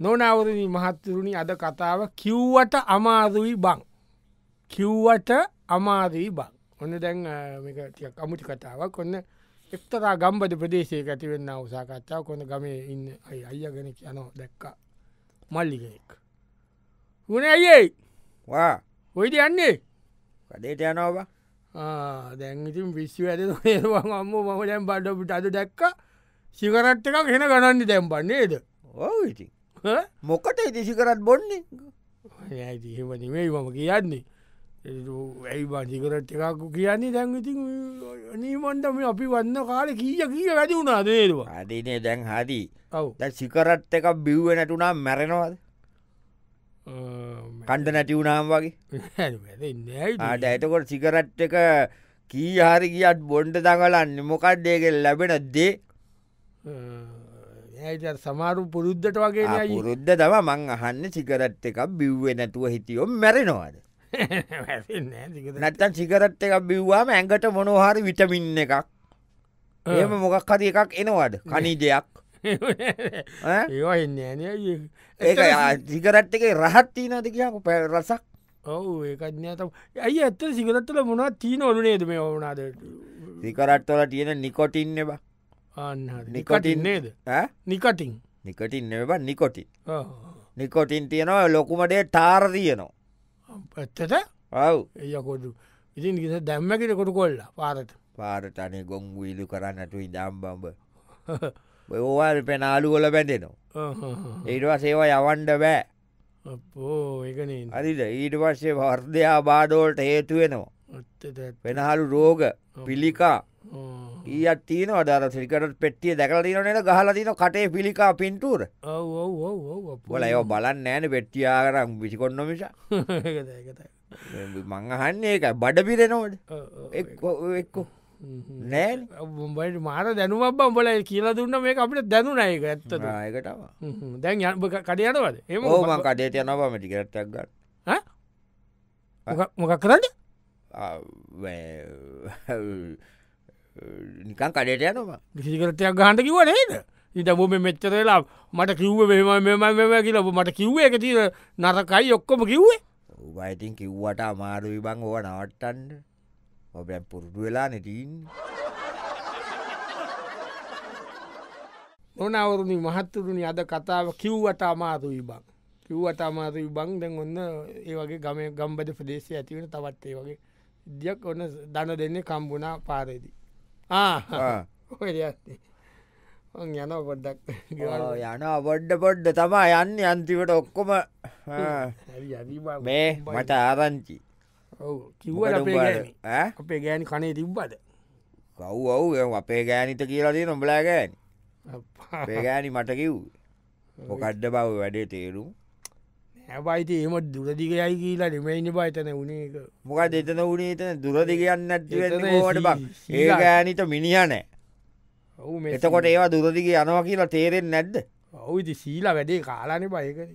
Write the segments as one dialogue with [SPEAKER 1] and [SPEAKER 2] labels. [SPEAKER 1] නොනවරණ මහත්තුරුණි අද කතාව කිව්වට අමාරුයි බං. කිව්වට අමාරී බං ඔන්න දැන් ටියක් අමුටි කතාවක් ඔන්න එක්තරා ගම්බද ප්‍රදේශය ඇතිවෙන්න උසාකච්ඡාව කොන ගමේ ඉන්න අයි අයිය ගෙන යන දැක්ක මල්ලිගෙනෙක්. වන ඇයිඒයි
[SPEAKER 2] වා
[SPEAKER 1] ඔයිට යන්නේ
[SPEAKER 2] කඩේට යනෝබ
[SPEAKER 1] ආ, දැන් ඉතින් විශ්ව ඇද ඒවා අම්ම මම දැම් බඩපිට අද දැක්ක සිකරට් එකක් හෙන ගණන්න දැම්බන්නේද
[SPEAKER 2] ඕ ඉති මොකට ඉතිසි කරත් බොන්නේ
[SPEAKER 1] ඇහෙම නෙමයි මම කියන්නේ ඇයිවා සිකරට් එකක් කියන්නේ දැන් ඉතින් නීමන්ටම අපි වන්න කාල කීය කිය වැඩි වුණා දේරවා
[SPEAKER 2] අදිනේ දැන් හදී
[SPEAKER 1] ඔව්
[SPEAKER 2] දැ සිකරත් එක බිව්ව නැටුනා මැරෙනවාද කණ්ඩ නැටිවුනාම් වගේ ආට ඇතකොට සිකරට් එක කී හරි කියත් බොන්්ඩ දඟලන්න මොකක්්දයකෙන් ලැබෙන දේ
[SPEAKER 1] ඇ සමාරු පුරුද්ධට වගේ නයි.
[SPEAKER 2] පුරුද්ධ තම මං අහන්න සිකරට් එක බිව්වේ නැතුව හිටියෝ මැරෙනවාද
[SPEAKER 1] වැරෙන්නේ නෑ සිගරට්.
[SPEAKER 2] නැත්තන් සිකරට් එක බිව්වාම ඇඟට මොනෝහරි විටමින්න එකක් එම මොකක් හරි එකක් එනවාද කනී දෙයක් ඈ?
[SPEAKER 1] ඒවා එන්නේ නෑ
[SPEAKER 2] ඒක සිකරට් එක රහත් තිීනද කියක පැ රසක්
[SPEAKER 1] ඔවු ඒකත්නත ඇයි ඇත්ත සිගරත්තල මොනා තිීන ඔලුනේද මේ ඕනාද
[SPEAKER 2] සිකරට්වල තියෙන නිකොටින් එබ
[SPEAKER 1] අන්න
[SPEAKER 2] නිකොටින්.
[SPEAKER 1] නිකටින් නේද නිකටින්
[SPEAKER 2] නිකටින් එබ නිකොටින්
[SPEAKER 1] ඔව්.
[SPEAKER 2] නිකොටින් තියෙනවා ලොකුමටේ ටාර තියනවා
[SPEAKER 1] ඇත්තට
[SPEAKER 2] ඔව්
[SPEAKER 1] එයකොඩු ඉතින් ගිස දැම්මකිට කොට කොල්ලා පාරත
[SPEAKER 2] පාරටනේ ගොංගුවිලු කරන්නටු ඉදම්බම්බ ඔවල් පෙනාලු කොල බැඳෙනවා ඒටවා සේවා යවන්ඩ බෑ
[SPEAKER 1] අපෝ ඒකනේ
[SPEAKER 2] අරිද ඊට පස්සේ වර්ධයා බාඩෝල්ට හේතුවෙනවා
[SPEAKER 1] ඇත්තට
[SPEAKER 2] පෙනහලු රෝග පිළිකා
[SPEAKER 1] ඕ.
[SPEAKER 2] ඊත් තියන අදර සිකට පෙට්ටිය දැකලදින නට ගහලදින කටේ පිළිකා පින්ටුර
[SPEAKER 1] ඔව් ඔව් ඔව් ඔව් අපෝ.
[SPEAKER 2] ොල යෝ බලන්න ෑන පෙට්ටියා කරම් විසිකොන්නමිස
[SPEAKER 1] ඒකද, ඒකද.
[SPEAKER 2] මංහන්නේ එක බඩ පිරෙනෝට
[SPEAKER 1] ඔව්, ඔව්.
[SPEAKER 2] එක්කෝ එක්කෝ
[SPEAKER 1] හ්ම්.
[SPEAKER 2] නෑන
[SPEAKER 1] උඹට මාර දැනුවබ බල කියලා දුන්න මේ අපිට දැනුනයක ඇත්තද
[SPEAKER 2] නායකටම
[SPEAKER 1] දැන් යන කඩයටවද එම
[SPEAKER 2] ඕමන් කටේ යනව මටිකරටක් ගන්න
[SPEAKER 1] මොකක් කරන්න
[SPEAKER 2] නිකන් කඩේට යනවා
[SPEAKER 1] සිකරටයක් ගහන්ට කිව නේද ඉට බොම මෙච්චරලා මට කිව්ව මෙම මෙම මෙම කියල මට කිව්ව එක තිීර නරකයි ඔක්කොම කිව්වේ
[SPEAKER 2] උබයිතින් කිව්වට අමාරු විබං ඕව නවට්ටන්ඩ ඔබැ පුරුදු වෙලා නැටීන්
[SPEAKER 1] නොනවරුණි මහත්තුරුණි අද කතාව කිව්වට අමාතු විබං කිව්වට අමාතු විබං දැන් ඔන්න ඒ වගේ ගම ගම්බද ප්‍රදේශය ඇතිවෙන තවත් ඒ වගේ ඉදියක් ඔන්න දන දෙන්නේ කම්බුණා පාරේදී ආ ඔය දෙයක්නේ. මං යනවා පොඩ්ඩක් ගෙවල්.
[SPEAKER 2] යන අවඩ්ඩ පොඩ්ඩ තමා යන්න අන්තිවට ඔක්කොම ආ.
[SPEAKER 1] හරි, හරි බං.
[SPEAKER 2] මේ මට ආරංචි
[SPEAKER 1] ඔව් කිව්වට අපේ ගෑනි
[SPEAKER 2] කව්
[SPEAKER 1] අපේ ගෑනි කනේ තිබ්බද
[SPEAKER 2] ඔව් අපේ ගෑනිත කියලදී නොබලාගෑන්
[SPEAKER 1] අප්පා.
[SPEAKER 2] පේගෑනි මට කිව් මොකඩ්ඩ බව වැඩේ තේරුම්
[SPEAKER 1] හැබයිති එම දුරදිගයයි කියලා නෙමයින්න බයිතන උනේ එක
[SPEAKER 2] මොක දෙතන වනේ තන දුරදි කියන්න
[SPEAKER 1] එතන
[SPEAKER 2] ඇත්වට බක්
[SPEAKER 1] සී-
[SPEAKER 2] ඒ
[SPEAKER 1] සීලා.
[SPEAKER 2] ගෑනිට මිනිහනෑ
[SPEAKER 1] ඔවු මෙ
[SPEAKER 2] එතකොට ඒවා දුරදිග යනවා කියලා තේරෙන් නැද්ද
[SPEAKER 1] ඔවුති සීලා වැඩේ කාලාන බයකර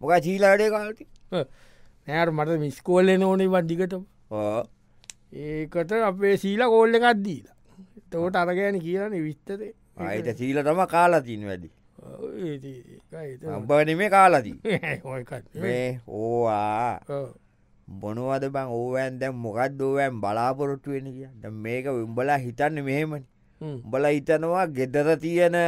[SPEAKER 2] මොක චීලාඩේ කාලට
[SPEAKER 1] නෑර මට මිස්කෝල්ල නෝනේ වන්දිිකටම ඒකට අපේ සීලා කෝල්ල එකත් දීලා තෝට අරගෑන කියලන විස්තරේ
[SPEAKER 2] අයට සීල තම කාලාතින් වැඩි
[SPEAKER 1] ඔව්, ඒ ඉතින් ඒකයි තමයි.
[SPEAKER 2] අම්පවන මේ කාලාදී
[SPEAKER 1] ඔයකත් නේ.
[SPEAKER 2] මේ ඕවා
[SPEAKER 1] ඔව්.
[SPEAKER 2] බොනුවද බං ඕවෑන් දැම් මොකක්ද ඕවෑන් බලාපොරොට්ටු වෙන කිය ද මේක උඹලා හිතන්න මෙහෙමනි
[SPEAKER 1] හ්ම්.
[SPEAKER 2] උඹල හිතනවා ගෙදර තියෙන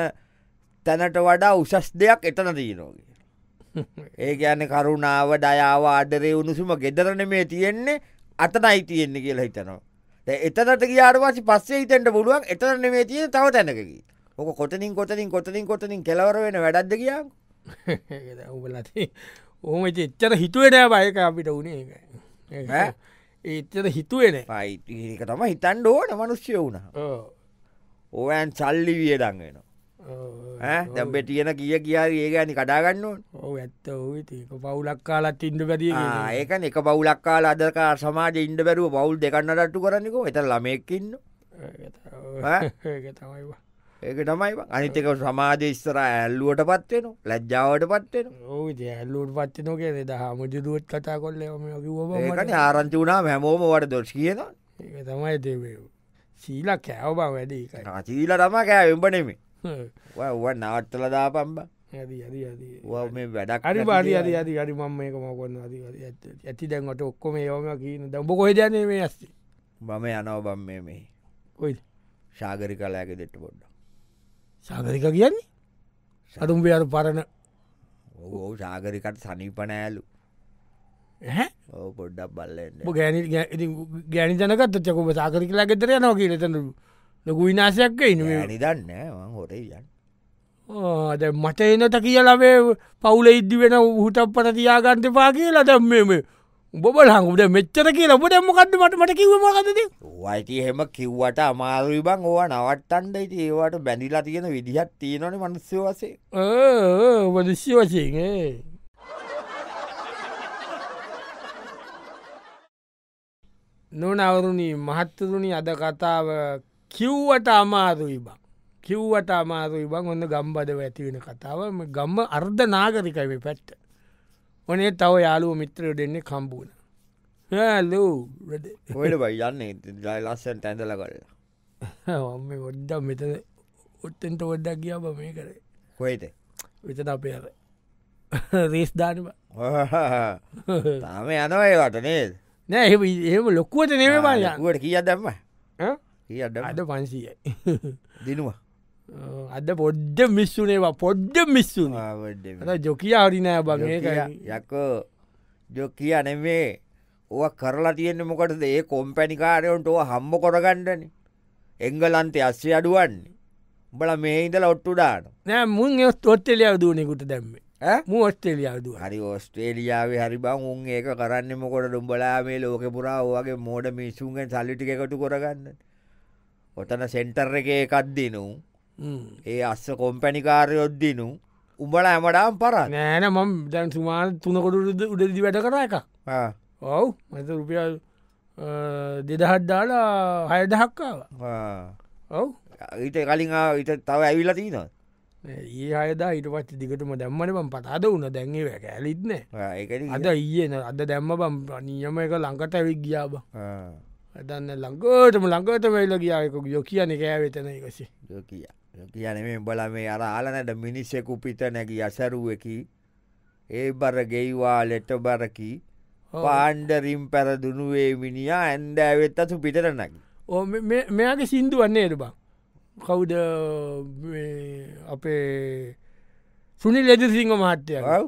[SPEAKER 2] තැනට වඩා උසස් දෙයක් එතන තියනෝගේ ඒ ගැන කරුණාව ඩයාව අඩරේ උණුසුම ගෙදරන මේ තියෙන්නේ අතනයි තියෙන්නේ කියලා හිතනවා. දැන් එතනට ගියාරවාසි පස්සේ හිතෙන්ට පුළුවන් එතන මේ තියෙන තව තැනකකි. ඕක කොතනින් කොතනින් කොතනින් කොතනින් කෙලවර වෙන වැඩක්ද කියා
[SPEAKER 1] උබලති ඕම ඉතින් එච්චර හිතුවටෑ බයක අපිට උනේ එක. ඒක
[SPEAKER 2] ඈ?
[SPEAKER 1] එච්චර හිතුවෙන
[SPEAKER 2] පයික තම හිතන් ඕන මනුෂ්‍ය වුණ ඕයන් සල්ලි වියදන්ගෙන දැම්බෙ තියෙන කිය කියා ඒ ගැනි කඩාගන්නවා.
[SPEAKER 1] ඔව ඇත්ත ඕවිතික පවුලක් කාලත් ඉන්ඩ පැදිය
[SPEAKER 2] ඒක එක බවුලක් කාල අදකා සමාජ ඉන්ඩ බැරුව බවුල් දෙකන්නටට්ටු කරන්නකෝ එත ළමයක්කින්න ඈ?
[SPEAKER 1] තමයි
[SPEAKER 2] ඒක තමයි බං. අනිතක සමාජ ස්තර ඇල්ලුවට පත්වෙන ලැජ්ජාවට පත්වෙන
[SPEAKER 1] ඕවිති ඇල්ලුට පත්ති නොකේ දහ මුජදුවත් කතා කොල්ල ම
[SPEAKER 2] ඒකන
[SPEAKER 1] කිව්වම
[SPEAKER 2] ආරංචි වුණා හැමෝම වට දොස් කියන
[SPEAKER 1] ඒක තමයි දෙවේ සීලා කෑව බං වැඩි එකයි
[SPEAKER 2] චීල තම කෑ එම්බනෙමේ ඔව නවත්තල දා පම්බ
[SPEAKER 1] ඇදි ඇදි ඇදී
[SPEAKER 2] ඔව් මේ වැඩක්
[SPEAKER 1] අරි
[SPEAKER 2] නැති
[SPEAKER 1] බාරි
[SPEAKER 2] දේවල්.
[SPEAKER 1] අරි අරි අරි මම මේක මකොන්න අද ඇති දැන්වට ඔක්කොම ඒෝම කියන දම්ඹ කොහදන මේ ඇස්ති
[SPEAKER 2] මම යනව බම් මේ මේ
[SPEAKER 1] ඔයි
[SPEAKER 2] ශාගරි කලායක දෙට පොඩ්ඩ
[SPEAKER 1] සාගරික කියන්නේ සතුම්පිය අර පරණ
[SPEAKER 2] ඔහු ශාගරිකට සනීපනෑලු
[SPEAKER 1] ඇහ
[SPEAKER 2] ඕ පොඩ්ඩක් බල්ලෙන්ට
[SPEAKER 1] ගැනි ගැනි ජනකත් චකොම සාකරිකලා ගෙතර යනෝ කිය තන ලොකු විනාශයක්ක ඉන්න
[SPEAKER 2] නිදන්න හොරේ යන්න
[SPEAKER 1] අද මට එනට කියලබේ පවුල ඉද්දි වෙන හුටක් පට තියාගන්ත පා කියලා දැම්මම බොබලහකුට මෙච්චර කියලා බොට මොකක්ද මට මට කිවමකතද
[SPEAKER 2] වයිති හෙම කිව්වට අමාරුයි බං ඕවා නවත්තන්ට ඉති ඒවට බැඳිලා තියෙන විදිහත් තියෙනවන මනුස්්‍ය වසේ
[SPEAKER 1] වදශ්‍ය වශයෙන් ඒ. නොනවරුණී මහත්තරුණි අද කතාව කිව්වට අමාරුයි බං කිව්වට අමාරුයි බං ඔන්න ගම්බදව ඇතිවෙන කතාව මේ ගම්ම අර්ධ නාගරිකයි මේ පැත්ත ඕනේ තව යාලුව මිත්‍රය දෙන්නේ කම්බූන ලූ
[SPEAKER 2] හොට බයියන්න ලස්සන් තැඳල කරලා
[SPEAKER 1] ඔොඩ්ඩම් මෙත ඔත්තෙන්ට ඔොඩ්ඩක් කියාව මේ කරේ
[SPEAKER 2] කොයිද
[SPEAKER 1] විතට අපේ අර රේස් ධානම
[SPEAKER 2] තාම යනවයි වටනේද
[SPEAKER 1] නෑ එහෙම එහෙම ලොක්කුවට නෙවේ බාලයන්
[SPEAKER 2] ට කිය දැම්ම කියඩ
[SPEAKER 1] අද පන්සීයයි
[SPEAKER 2] දිනවා
[SPEAKER 1] අද පොඩ්ඩ මිස්සුනේවා පොඩ්ඩ මිස්සුන ජොකිය හරිනෑ බගේ
[SPEAKER 2] යකෝ ජො කිය නෙමේ ඕ කරලා තියෙන්නේ මොකටද ඒ කොම්පැනිිකාරයොන්ට ඕ හම්ම කොරගණ්ඩන එංගලන්තේ අස්සේ අඩුවන්නේ උඹල මේ ඉඳල ඔට්ටු ඩාන
[SPEAKER 1] නෑ මුන් ඔස්ටේලියාව දුවනෙකුට දැම්ම මු ඔස්ටේලියාව දුව
[SPEAKER 2] හරි ඔස්ට්‍රේලියාව හරි බං උන් ඒක කරන්න මොකොට ඩුම්ඹලා මේ ලෝක පුරා ඕගේ මෝඩ මිනිසුන්ගෙන් සල්ලිටි එකතු කොරගන්න ඔතන සෙන්ටර් එක එකක්දිනු ඒ අස්ස කොම්පැනිිකාරයොද්දිනු උඹල ඇමඩාම් පරන්න
[SPEAKER 1] නෑන මම දැන් සුමාන තුනකොට උඩදි වැඩ කර එක ඔව් මත රුපියල් දෙදහත් දාලා හයදහක්කාව ඔව්
[SPEAKER 2] ඊට කලින් ආ- ඊට තව ඇවිලතිී නොත්
[SPEAKER 1] ඒ අයදා ඉට පච්ච දිකටම දැම්මන බම් පතාද වුණ දැන්ගේ වැ ඇලිත්නෑ
[SPEAKER 2] ඒක
[SPEAKER 1] අද ඊයන අද දැම්ම බම් නියම එක ලංකට ඇවික් ගියාබ ඇදන්න ලංකෝටම ලංකට වෙල්ල ගියායක යො කියන කෑවෙතන එකසි
[SPEAKER 2] කිය කියන මේ උඹල මේ අර ආලනට මිනිස්සෙකු පිට නැකි අසරුවකි ඒ බර ගෙයිවා ලෙට බරකි පාණ්ඩරිම් පැරදුනුවේ මිනිියා ඇන්ඩ ඇවෙත් අතු පිටර නැකි
[SPEAKER 1] ඕ මෙයාගේ සින්දු වන්නේ එට බං කවුද මේ අපේ සුනි ලෙජසිංහ මහත්තය
[SPEAKER 2] ඔව්.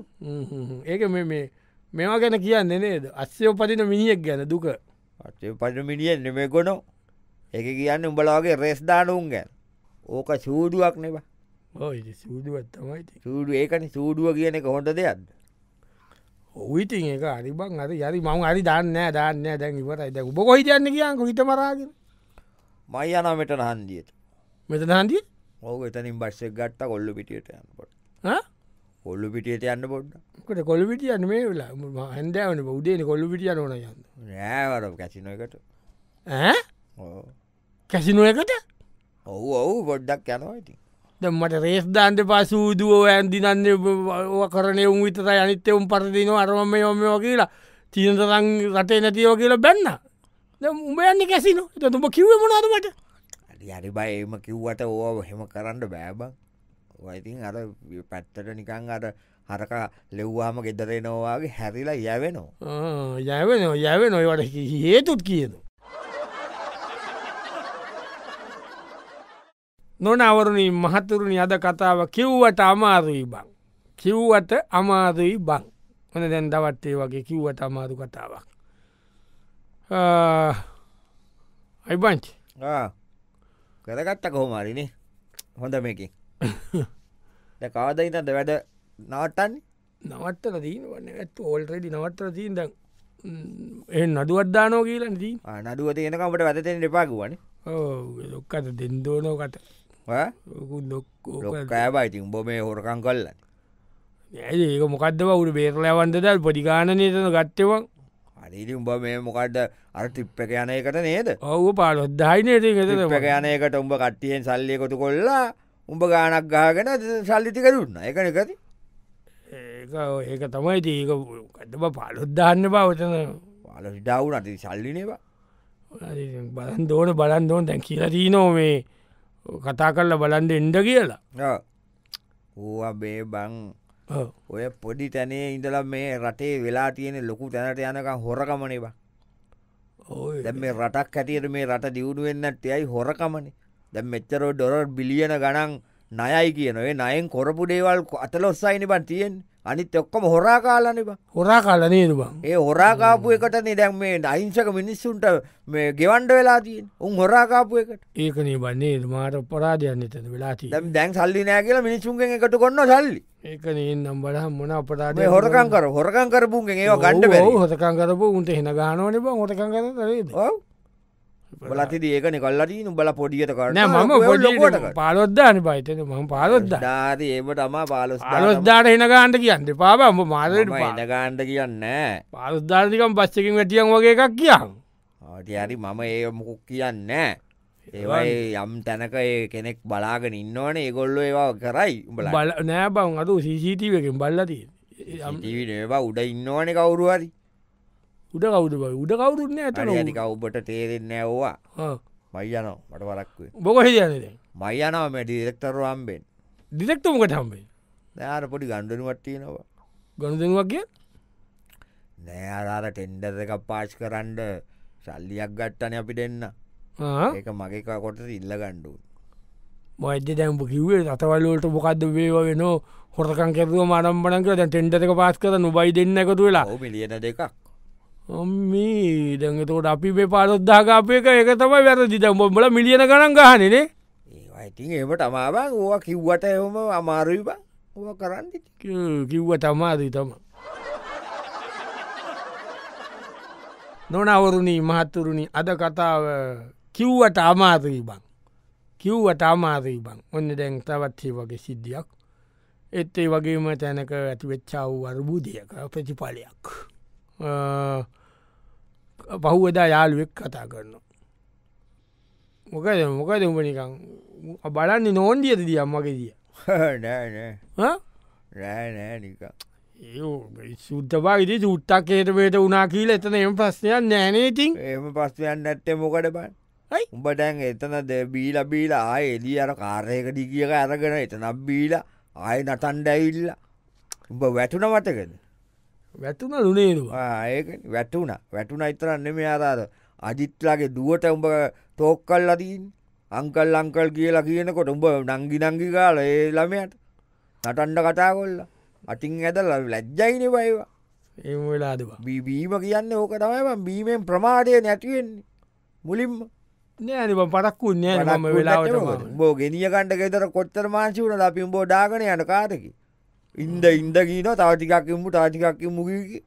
[SPEAKER 1] ඒක මේ මේ මෙවා ගැන කියන්න නේද අස්්‍යෝපතින මිනිියක් ගැන දුක
[SPEAKER 2] අේ පට මිනිියෙන් නෙමේ ගොනො එක කියන්න උඹලාගේ රෙස්ධානුන් ගැන ඕක සූඩුවක් නෙවා
[SPEAKER 1] ඔය සූදුවත්තමයිති
[SPEAKER 2] සූඩු ඒකන සූඩුව කියන එක හොට දෙයක්ද
[SPEAKER 1] ඔවිතින් එක අරිබං අර යරි මං අරි දන්න දාන්න දැන් ඉවරයි දැක බොකොයි යන්න කියන්න හිත මරාගෙන
[SPEAKER 2] මයි යනමට නහන්දියට
[SPEAKER 1] මෙත හන්දිය
[SPEAKER 2] ඕක එතනින් බස්සෙක් ගත්ත කොල්ලු පිටියට යන්න පොට කොල්ලු පිටියට යන්න පොඩ්ඩ
[SPEAKER 1] කට කොල්ිටියන මේ වෙලා හැන්දෑවන උදේන කොල්ිටිය ඕන යන්න
[SPEAKER 2] නෑවර කැසින එකට
[SPEAKER 1] ඇ
[SPEAKER 2] ඕ
[SPEAKER 1] කැසිනුව එකට
[SPEAKER 2] ඔවු ඔවු පොඩ්ඩක් යනවා ඉතින්
[SPEAKER 1] ද මට රේස් දාන්ට පසූදුවෝ ඇන්දිනන්න කරනය උන් විතර අනිත්‍යවුම් පරදින අරම මේ යොමෝ කියලා චීනතරන් රටේ නැතියෝ කියලා බැන්න ද උඹ යන්න කැසිනු තුම කිව්ව මොනාදමට
[SPEAKER 2] අඩි අරි බයම කිව්වට ඕ හෙම කරන්න බෑබං ඉතින් අර පැත්තට නිකං අර හරක ලෙව්වාම ගෙදරේ නොවාගේ හැරිලා යැවෙනෝ
[SPEAKER 1] යැවෙන යැවෙන ඔයවට හේතුත් කියන නොනවරුණී මහතුරුණි අද කතාව කිව්වට අමාරුයි බං කිව්වට අමාරුයි බං හොන දැන් දවත්තේ වගේ කිව්වට අමාරු කතාවක් අයිබංච්
[SPEAKER 2] කරගත්ත කොහොමරිනේ හොඳ මේකින් කවදයිතද වැඩ නවටන්
[SPEAKER 1] නවත්තල දීන වන්න ඇත් ඕල්ටෙඩි නවත්තර දීන්ද එ නඩුවත්දානෝ කියලන දී
[SPEAKER 2] නඩුව තියෙනකමට වැතෙන් දෙපාගුවන
[SPEAKER 1] ලොක්කට දෙන්දෝනෝ කට ලොක්කෝ
[SPEAKER 2] කෑබයිති උඹ මේ හොරකං කල්ලන්න
[SPEAKER 1] ඇයි ඒක මොකක්දව උට බේරලවන්දද පොඩිගාන නේතන ගත්තවන්
[SPEAKER 2] අනිදි උඹ මේ මොකක්ද අර ටිප්පක යන එකට නේද
[SPEAKER 1] ඔවු පාලොද්දායිනයට
[SPEAKER 2] ටිප්පක
[SPEAKER 1] ගත
[SPEAKER 2] යන එකට උඹ කට්ටියෙන් සල්ලය කොතු කොල්ලා උඹ ගානක් ගාගෙන සල්ලිතිකරුන්න එකනකති
[SPEAKER 1] ඒක තමයි ඒක කදම පාලොද්දාන්න බවතන
[SPEAKER 2] වල ඩව් නති සල්ලිනවා
[SPEAKER 1] බලන් දෝන බලන් දෝන් දැන් කියලදී නෝ මේ කතා කරල බලන්ද එන්ඩ කියලා
[SPEAKER 2] ඕවා බේ බං
[SPEAKER 1] ඔව්.
[SPEAKER 2] ඔය පොඩි තැනේ ඉඳලා මේ රටේ වෙලා තියෙන ලොකු තැනට යනකම් හොරකමනේ බං
[SPEAKER 1] ඔව් ඒක.
[SPEAKER 2] දැම් මේ රටක් ඇතියට මේ රට දියුණුවෙන්න්නට යයි හොරකමන දැම් මෙච්චරෝ ඩොරර් බිලියන ගණන් නයයි කියනොේ නයෙන් කොරපු ඩේවල් අතල ඔස්සයිනි බන් තියෙන් අනිත් එක්කොම හොරාකාලනබ
[SPEAKER 1] හොරා කාල නේද බං
[SPEAKER 2] ඒ හොරාකාපු එකටනේ දැන් මේ අයිංසක මිනිස්සුන්ට මේ ගෙවන්ඩ වෙලා තියෙන් උන් හොරාකාපු එකට
[SPEAKER 1] ඒක නිබන්නේ මාට පරාධයන්න තන වෙලාති
[SPEAKER 2] දැම් දැන් සල්ලිනෑ කියලා මිනිසුන්ගෙන් එකට කොන්න සල්ලි
[SPEAKER 1] ඒක නම් බල මොන අපරාධ
[SPEAKER 2] මේ හොරකං කර හොරකං කරපුුන්ගෙන් ඒවා ගණ්ඩ බැ
[SPEAKER 1] හොතකං කරපු උන්ට හෙන ගානවන බ හොතකං කර තරේද
[SPEAKER 2] බලතිද ඒකන කල්ලදී උඹල පොඩියට කරන්න
[SPEAKER 1] නෑ මම පොඩිට පාලොද්දාන බයිතන ම පාලොද්දා
[SPEAKER 2] ධාරි ඒම තමා පාලොස්
[SPEAKER 1] අලොස්දාට හෙන ගාන්ට කියන්න පාබ ම මාදට
[SPEAKER 2] එනගාන්ඩ කියන්න
[SPEAKER 1] පාලොස්ධාර්ිකම් පස්සකින් වැටියන් වගේ එකක් කියන්
[SPEAKER 2] ආටහරි මම ඒ මොකුක් කියන්න ඒවයි යම් තැනක ඒ කෙනෙක් බලාගෙන ඉන්නවන ඒගොල්ලෝ ඒවා කරයි
[SPEAKER 1] බල නෑ බං අතු සිසිීටවකින් බල්ලතිය
[SPEAKER 2] ඒවා උඩ ඉන්නවන කවුරුහරි
[SPEAKER 1] උඩ කවුද බ උඩ කවුරුන්න ඇතන
[SPEAKER 2] අනික ඔබට තේරෙන්න ඇව්වා මයියනෝ මට වරක්වේ
[SPEAKER 1] බොකොහ යනද
[SPEAKER 2] මයියනාව මැටි රෙක්ටරු අම්බෙන්
[SPEAKER 1] දිිනෙක්ටමකට හම්බේ
[SPEAKER 2] දෑර පොඩි ගණ්ඩනුවට්ටයනවා
[SPEAKER 1] ගොනුදෙන්වක් කිය
[SPEAKER 2] නෑරාර ටෙන්ඩර් එක පාච් කරන්ඩ සල්ලියක් ගට්ටන අපි දෙන්න ඒක මගේකා කොට ඉල්ල ගණ්ඩුව
[SPEAKER 1] මජ්‍ය දැම්ප කිවේ අතවල්ලට මොකක්ද වේවා වෙන හොරකන් කැරුව මරම්බනක දැ ටෙන්ටක පාස් කර නොබයි දෙන්න එකතු වෙලා
[SPEAKER 2] ඔහු මිලියන දෙකක්
[SPEAKER 1] ඔම්මී දැඟතෝට අපි පේ පාලොද්දාකාපයක එක තමයි වැර ජිත බොම්බල මිලියන ගණන් ගහනනේ
[SPEAKER 2] ඒවා ඉතින් ඒම තමාබං ඕ කිව්වට එහොම අමාරුයි බං ඕ කරන්න ඉතින්.
[SPEAKER 1] කිව්- කිව්ව තමාදී තම නොනවරුණී මහත්තුරුණි අද කතාව කිව්වට අමාතී බං කිව්වට අමාතී බං ඔන්න දැන් තවත්ේ වගේ සිද්ධියක් එත් ඒ වගේම තැනක ඇති වෙච්චාව වර්බූදයක ප්‍රතිඵලයක් අ, පහුවදා යාළුවෙක් කතා කරන මොකද මොකද උඹනිකං බලන්නේ නෝන්දිියද දියම් මගේ දිය
[SPEAKER 2] නෑ නෑ
[SPEAKER 1] හ?
[SPEAKER 2] නෑ නෑ නිකන් සුද්ධපාගති
[SPEAKER 1] චුට්ටක් ඒටපේට වනා කියීල එතන එම ප්‍රශ්නයක් නෑනේතින්
[SPEAKER 2] එම පස්සයන් නැත්තේ මොකට බන්
[SPEAKER 1] ඇයි?
[SPEAKER 2] උඹටැන් එතන බීල බීල ආය එදී අර කාරයක දිගියක අරගෙන එතන බීල ආය නතන්ඩ ඇවිල්ල උඹ වැටුන මතකද
[SPEAKER 1] වැැතුන ලුනේරුවා
[SPEAKER 2] ඒක වැටුන වැටුන අයිතරන්න මේ අරාද අජිත්ලාගේ දුවට උඹ තෝක් කල් අදීන් අංකල් අංකල් කියලා කියනකොට උඹ නංගි නංගි කාල ඒ ළමයට නටන්ඩ කතා කොල්ල අටින් ඇදල ලැජ්ජයින බයිවා
[SPEAKER 1] එම වෙලාදවා
[SPEAKER 2] බී- බීම කියන්න ඕක තමයි බං. බීමෙන් ප්‍රමාඩය නැතිවෙන්නේ මුලින්ම
[SPEAKER 1] නෑනිම පරක්කු නෑ ම වෙලාවට
[SPEAKER 2] බෝ ගෙනිය කණ්ඩ ෙතර කොත්තර මාංචිවුණ අපි බෝ ඩාගන යන කාරකි ඉන්ද ඉන්ද ගීන තවටිකක්කිම්මු තාටිකක්ක මුගකි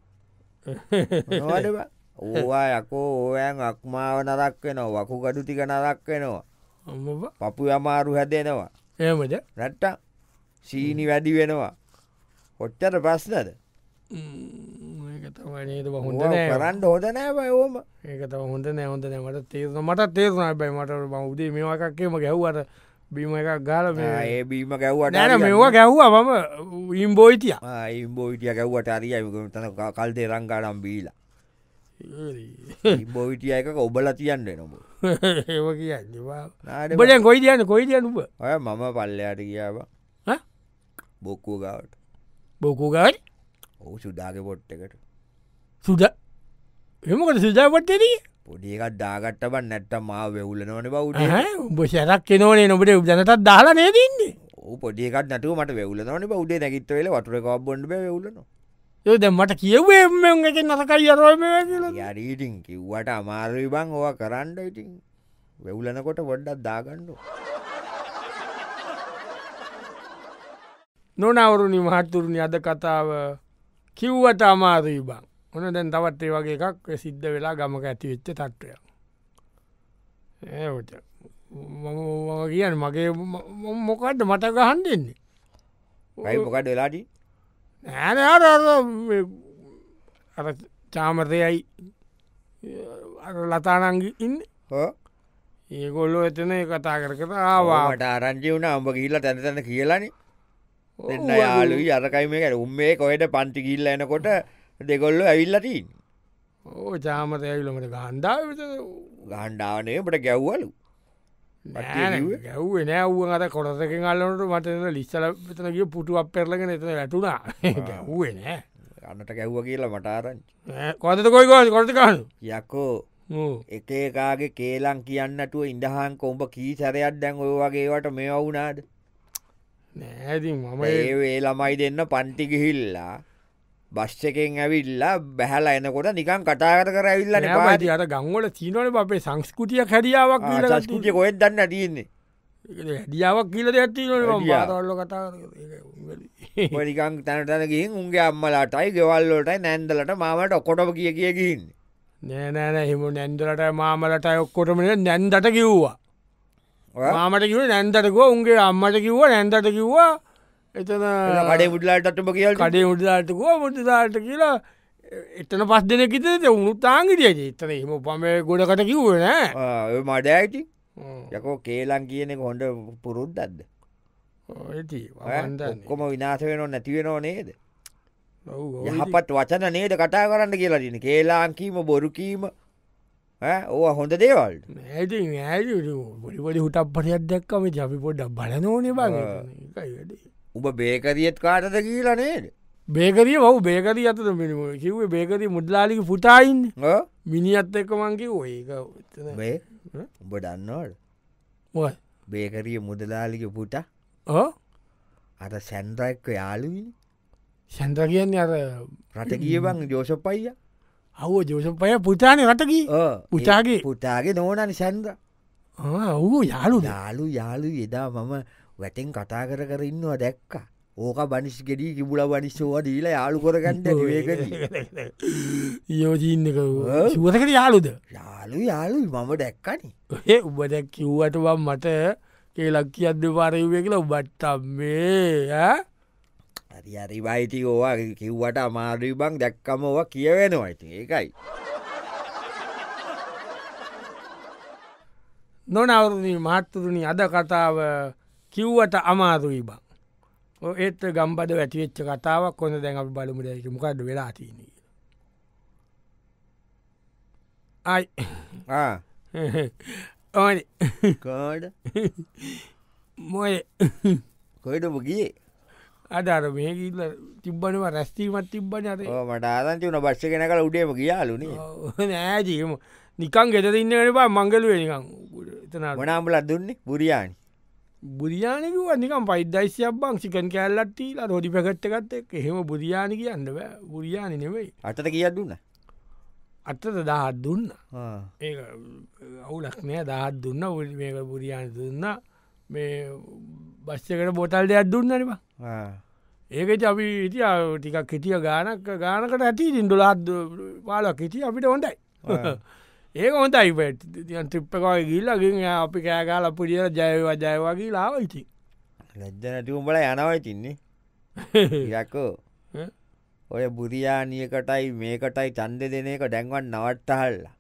[SPEAKER 2] ඕවා යකෝ ඕයන් අක්මාව නරක් වෙනවා වකු ගඩු ටික නරක් වෙනවා පපු අමාරු හැදෙනවා
[SPEAKER 1] එමද
[SPEAKER 2] නැට්ට සීනි වැඩි වෙනවා කොච්චට ප්‍රශ්නද
[SPEAKER 1] ඒක තමයි නේද බං. හොඳ
[SPEAKER 2] ඕවා
[SPEAKER 1] නෑ
[SPEAKER 2] කරන්න හොද නෑබයි ඕම
[SPEAKER 1] ඒක තම හොඳ නෑ හොඳ නෑ මට තේරන මට තේරුණ බයි මට බං උදේ මේවාකක්කේම ගැව්වට බීම එකක් ගාල නෑන
[SPEAKER 2] ඒ බීම ගැව්වට හරියන්නේ
[SPEAKER 1] මේවා ගැව්වා මම ඉම්බෝයිතිය
[SPEAKER 2] ඉම්බෝවිටිය ගැව්වට අරියම තන කල්දේ රංගාඩම් බීලා ඉම්බෝවිටිය එක ඔබල තියන්න නොම
[SPEAKER 1] ඒව කියන්න බඩ කොයි දයන්න කොයි දයන්න උබ
[SPEAKER 2] ඔය මම පල්ලයාට කියාව
[SPEAKER 1] ඈ?
[SPEAKER 2] බොක්කෝ ගවට
[SPEAKER 1] බොකුගයි
[SPEAKER 2] ඔහු සුදාග පොට් එකට
[SPEAKER 1] සුද එමකට සුදාපට්ටදී
[SPEAKER 2] පොඩියකක් දාගට්ට බන් නැට්ට මා වෙවුල නොන බවුට
[SPEAKER 1] උඹ සැරක් එනෝනේ නොබට ජනතත් දාලා නේදන්නේ
[SPEAKER 2] ඕ පොඩියකක් නටුව මට වෙවුල නොන බෞදේ නැකිත් වෙල වටරකක් බොඩ වෙවුලන
[SPEAKER 1] යද මට කියවේ එක නතකයි අරෝම
[SPEAKER 2] යරීටින් කිව්වට අමාරුයි බං ඕවා කරන්න ඉටින් වෙවුලනකොට වොඩ්ඩක් දාගණ්ඩු
[SPEAKER 1] නොනවරුණි මහත්තුරුණි අද කතාව කිව්වට අමාරී බං ඕන දැන් තවත් ඒ වගේ එකක් ඔය සිද්ධ වෙලා ගමක ඇතිවෙච්ච තත්ත්වය ඒට කියන්න මගේ මොකක්ද මට ගහන් දෙන්නේ
[SPEAKER 2] රයිමොකට වෙලාටි
[SPEAKER 1] නෑන අර අර චාමතයයි අර ලතානංගි ඉන්න
[SPEAKER 2] හෝ
[SPEAKER 1] ඒගොල්ලෝ එතන ඒ කතා කර කර ආවා
[SPEAKER 2] මට ආරංචි වුණ අම්ඹ කියල්ල තැනතැන කියලනි දෙන්න යාලු අරකයි මේකට උම්මේ කොහෙට පන්ති කිල්ල එනකොට දෙගොල්ල ඇවිල්ලටීන්
[SPEAKER 1] ඕ චාමතයවිලමට ගහන්ඩාව
[SPEAKER 2] ගණ්ඩාවනයමට ගැව්වලු පට්ටිය
[SPEAKER 1] ගැව්ේ නෑව්ුව අත කොරසක අල්ලනට මට ලිස්සල තනගේ පුටුවක් පෙරලගෙන එතන ලැටුණා ගැව්ේ නෑ
[SPEAKER 2] අන්නට ගැව්ව කියලා මටාරංචි
[SPEAKER 1] කොතත කොයි ගොල් කොටකාන්න
[SPEAKER 2] යකෝ එක එකගේ කේලං කියන්නටුව ඉඳහන් කොඹ කී සැරයක් දැන් ඔය වගේවට මේ වුනාද
[SPEAKER 1] නෑති මම ඒ-
[SPEAKER 2] ඒවේ ළමයි දෙන්න පන්ටි ගිහිල්ලා බස් එකෙන් ඇවිල්ලා බැහල එනකොට නිකන් කටාගත කර ඇවිල්ලන
[SPEAKER 1] නෑ මයිති අට ගංවල චීනවල අපේ සංස්කෘතිය හැඩියාවක්
[SPEAKER 2] සස්කෘතිය කොහෙත් දන්න තියෙන්නේ
[SPEAKER 1] හැඩියාවක් කියලද ඇත්ති
[SPEAKER 2] හැඩියාව.
[SPEAKER 1] ල්ල කතා
[SPEAKER 2] මනිකං තැනටන ගින් උන්ගේ අම්මලාටයි ගෙවල්ලෝටයි නැන්දලට මාමට ඔකොටම කිය කියගින්
[SPEAKER 1] නෑනෑන හෙම නැන්දලට මාමලට ඔක්කොටමන නැන්දට කිව්වා මාමට කිව නැන්දටකුව උන්ගේ අම්මට කිව්ව නැන්දට කිව්වා එතන
[SPEAKER 2] කඩේ පුඩලාටම කියල්
[SPEAKER 1] කඩේ මුටදාටකුව මුටදාට කියලා එතන පස් දෙනකිතේ උනුත් තාංගිටිය චිතන එම පම ගොඩකට කිව්ව නෑ
[SPEAKER 2] මඩ ඇයිති යකෝ කේලං කියනෙ හොඩ පුරුද්දක්ද
[SPEAKER 1] ඇති
[SPEAKER 2] කොම විනාශ වෙන නැතිවෙනෝ නේද යහපත් වචන නේද කටා කරන්න කියලා දින කේලාංකීම බොරුකීම ඈ? ඕවා හොඳ දේවල්ට
[SPEAKER 1] ඇති ඇ බොඩිපොඩි හුටක් පටයක් දැක්කම ජපි පොඩ්ඩක් බලනෝනේ බ
[SPEAKER 2] උඹ බේකරියත් කාටද කියලා නේද
[SPEAKER 1] බේකරිය ඔවු බේකරී අතට මිනිම කිව්වේ බේකරී මුදලාලික පුටයින්
[SPEAKER 2] ඈ?
[SPEAKER 1] මිනිත් එක්ක මංකි ඒක එතන.
[SPEAKER 2] බේ උඹ දන්නවට
[SPEAKER 1] මොකක්ද?
[SPEAKER 2] බේකරිය මුදලාලික පුට
[SPEAKER 1] ඔව්?
[SPEAKER 2] අට සැන්ඩ්‍රයික්ක යාලුවිනි
[SPEAKER 1] සැන්ද්‍ර කියන්නේ අර
[SPEAKER 2] රට කියවන් ජෝෂපයිය
[SPEAKER 1] අවෝ ජෝසපය පුතානය රටකි පුතාගේ
[SPEAKER 2] පුතාගේ නෝනනි සැන්ද්‍ර
[SPEAKER 1] ඔහු යාලු
[SPEAKER 2] යාලු යාලු එදා මම වැටෙන් කතා කර කර ඉන්නවා දැක්ක ඕක බනිස් ගෙඩී කිබුල වනිස්සෝවා දීලා යාලු කොරගන්න වේකරී
[SPEAKER 1] යෝජීන්නක
[SPEAKER 2] ඔව්.
[SPEAKER 1] සුවසකට යාලුද
[SPEAKER 2] යාලු යාලු මම දැක්කනි
[SPEAKER 1] ඒ උබද කිව්වට බම් මට කේලක්කි අද පාරයුවේ කියලා උබට්ටම් මේ
[SPEAKER 2] හරි අරිවයිති ඕවා කිව්වට අමාරී බං දැක්කම ඕවා කියවෙනවා ඉති ඒකයි
[SPEAKER 1] නොනවරුණ මහත්තුරුණි අද කතාව කිව්වට අමාරුයි බං ඔය ඒත් ගම්බද වැටිවෙච්ච කතාවක් කොන්න දැන් අප බලමුදැක මොකක්ද වෙලාතිීනී අයි ඕන
[SPEAKER 2] කඩ
[SPEAKER 1] මොය
[SPEAKER 2] කොයිටම ගිය
[SPEAKER 1] අදර මේකිල්ල තිබ්බනව රැස්තීමත් තිබ්බන අර
[SPEAKER 2] මට ආදන්ති වන බස්්‍ය කෙන කල උඩේම කියාලුනේ
[SPEAKER 1] නෑජීම නිකන් ගෙත ඉන්නටපා මංගලුව නිකං එතන
[SPEAKER 2] මනාම්ඹල දුන්නේ පුරියානි
[SPEAKER 1] බුරියානකුව නිකම් පයිද්දයිසියක් බං සිකන් කෑල්ලටීල රොඩි පැකට්ටකත් එක් එහෙම බුරියානි කියන්න බෑ බුරියානි නෙවෙයි
[SPEAKER 2] අතට කියත් දුන්න
[SPEAKER 1] අත්තට දහත් දුන්න ඒ අවුලක් නෑ දහත් දුන්න ඔය මේක බුරියානි දුන්න මේ බස්්‍යකට බොටල් දෙයක් දුන්නනවා ඒකෙට අපි ඉති ටිකක් කෙටිය ගානක් ගානකට ඇති ඉන්ඩුලාත් පාලක් හිටිය අපිට හොඳයි ඒක හොඳයි පැන් ත්‍රිප්පකවයි ගිල්ලගින් අපි කෑගාල පුඩියල ජයවා ජයවාගේ ලාව ඉති
[SPEAKER 2] ලැජ්ජනැටිවුම්බල යනවයිතින්නේ යකෝ
[SPEAKER 1] ඈ?
[SPEAKER 2] ඔය බුරියානියකටයි මේකටයි චන්ද දෙන එක ඩැන්වන් නවට්ටහල්ලා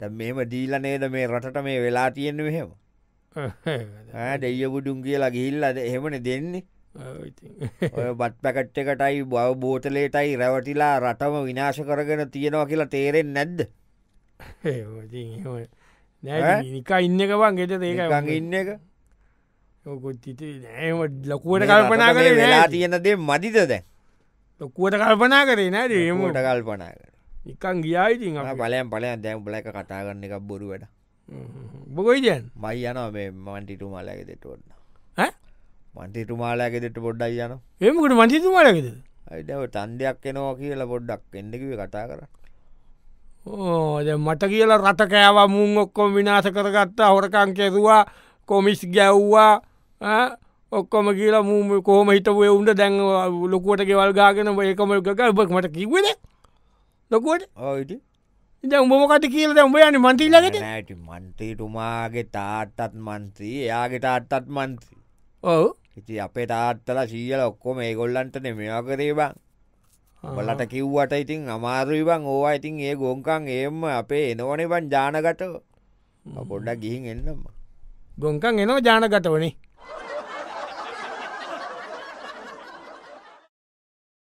[SPEAKER 2] දැන් මෙම දීල නේද මේ රටට මේ වෙලා තියෙන්න්න මෙහෙම දෙය බුඩුන් කියලා ගිහිල්ලද එහෙමන දෙන්නේ ඔය බත් පැකට් එකටයි බව බෝතලේටයි රැවටිලා රටම විනාශ කරගෙන තියෙනවා කියලා තේරෙන් නැද්ද ඈ?
[SPEAKER 1] නිකා ඉන්නකවන් ගෙට
[SPEAKER 2] නිකන්
[SPEAKER 1] ඒකගන්න
[SPEAKER 2] ඉන්න එක
[SPEAKER 1] කොත් නෑම ලොකුවට
[SPEAKER 2] මේ
[SPEAKER 1] කල්පනා
[SPEAKER 2] රටට මේ
[SPEAKER 1] කරේ
[SPEAKER 2] වෙලා
[SPEAKER 1] නෑ
[SPEAKER 2] තියෙනදේ මදිද දැ
[SPEAKER 1] ලොකුවට කල්පනා කරේ නෑ ඒම
[SPEAKER 2] මට කල්පනා
[SPEAKER 1] නිකන් ගියායිතින්
[SPEAKER 2] පලයම් පලයන් දැම් බලක කටාගන්න එකක් බොරුවට
[SPEAKER 1] බොකොයිදයන්
[SPEAKER 2] මයි යන මේ මන්ටිටු මාලයක දෙටවන්න
[SPEAKER 1] ඈ?
[SPEAKER 2] මන්ටිටු මාලයක දෙට පොඩ්ඩයි යන
[SPEAKER 1] එමකට මන්තිතුමාලකද
[SPEAKER 2] ඇඩව තන්දයක් එනවා කියලා පොඩ්ඩක් එන්නකිව කතා කර
[SPEAKER 1] ඕද මට කියලා රට කෑවා මුං ඔක්කොම විනාස කරගත්තා හොරකං කෙරුවා කොමිස් ගැව්වා ඈ? ඔක්කොම කියලා මූම කෝම හිටපු එවුන්ට දැන් ලොකුවට ගෙවල් ගාගෙන ඔබ ඒකම ගකල් බක් මට කිවද ලොකුවට
[SPEAKER 2] ඕයිට
[SPEAKER 1] ඉද උඹමකට කියලද උඹ යන මන්තිීලකට
[SPEAKER 2] නැට මන්තීටුමාගේ තාත්තත් මන්ත්‍රී එයාගේ තාත්තත් මන්ත්‍රී
[SPEAKER 1] ඔව
[SPEAKER 2] ඉති අපේ තාත්තල සීියල ඔක්කොම ඒ ගොල්ලන්ටන මෙවා කරේ බං බලට කිව්වට ඉතින් අමාරුවවන් ඕවා ඉතින් ඒ ගොංකන් ඒම අපේ එනවනබන් ජානකට පොඩ්ඩක් ගිහින් එන්නම්ම
[SPEAKER 1] ගොංකන් එනවා ජානගත වනේ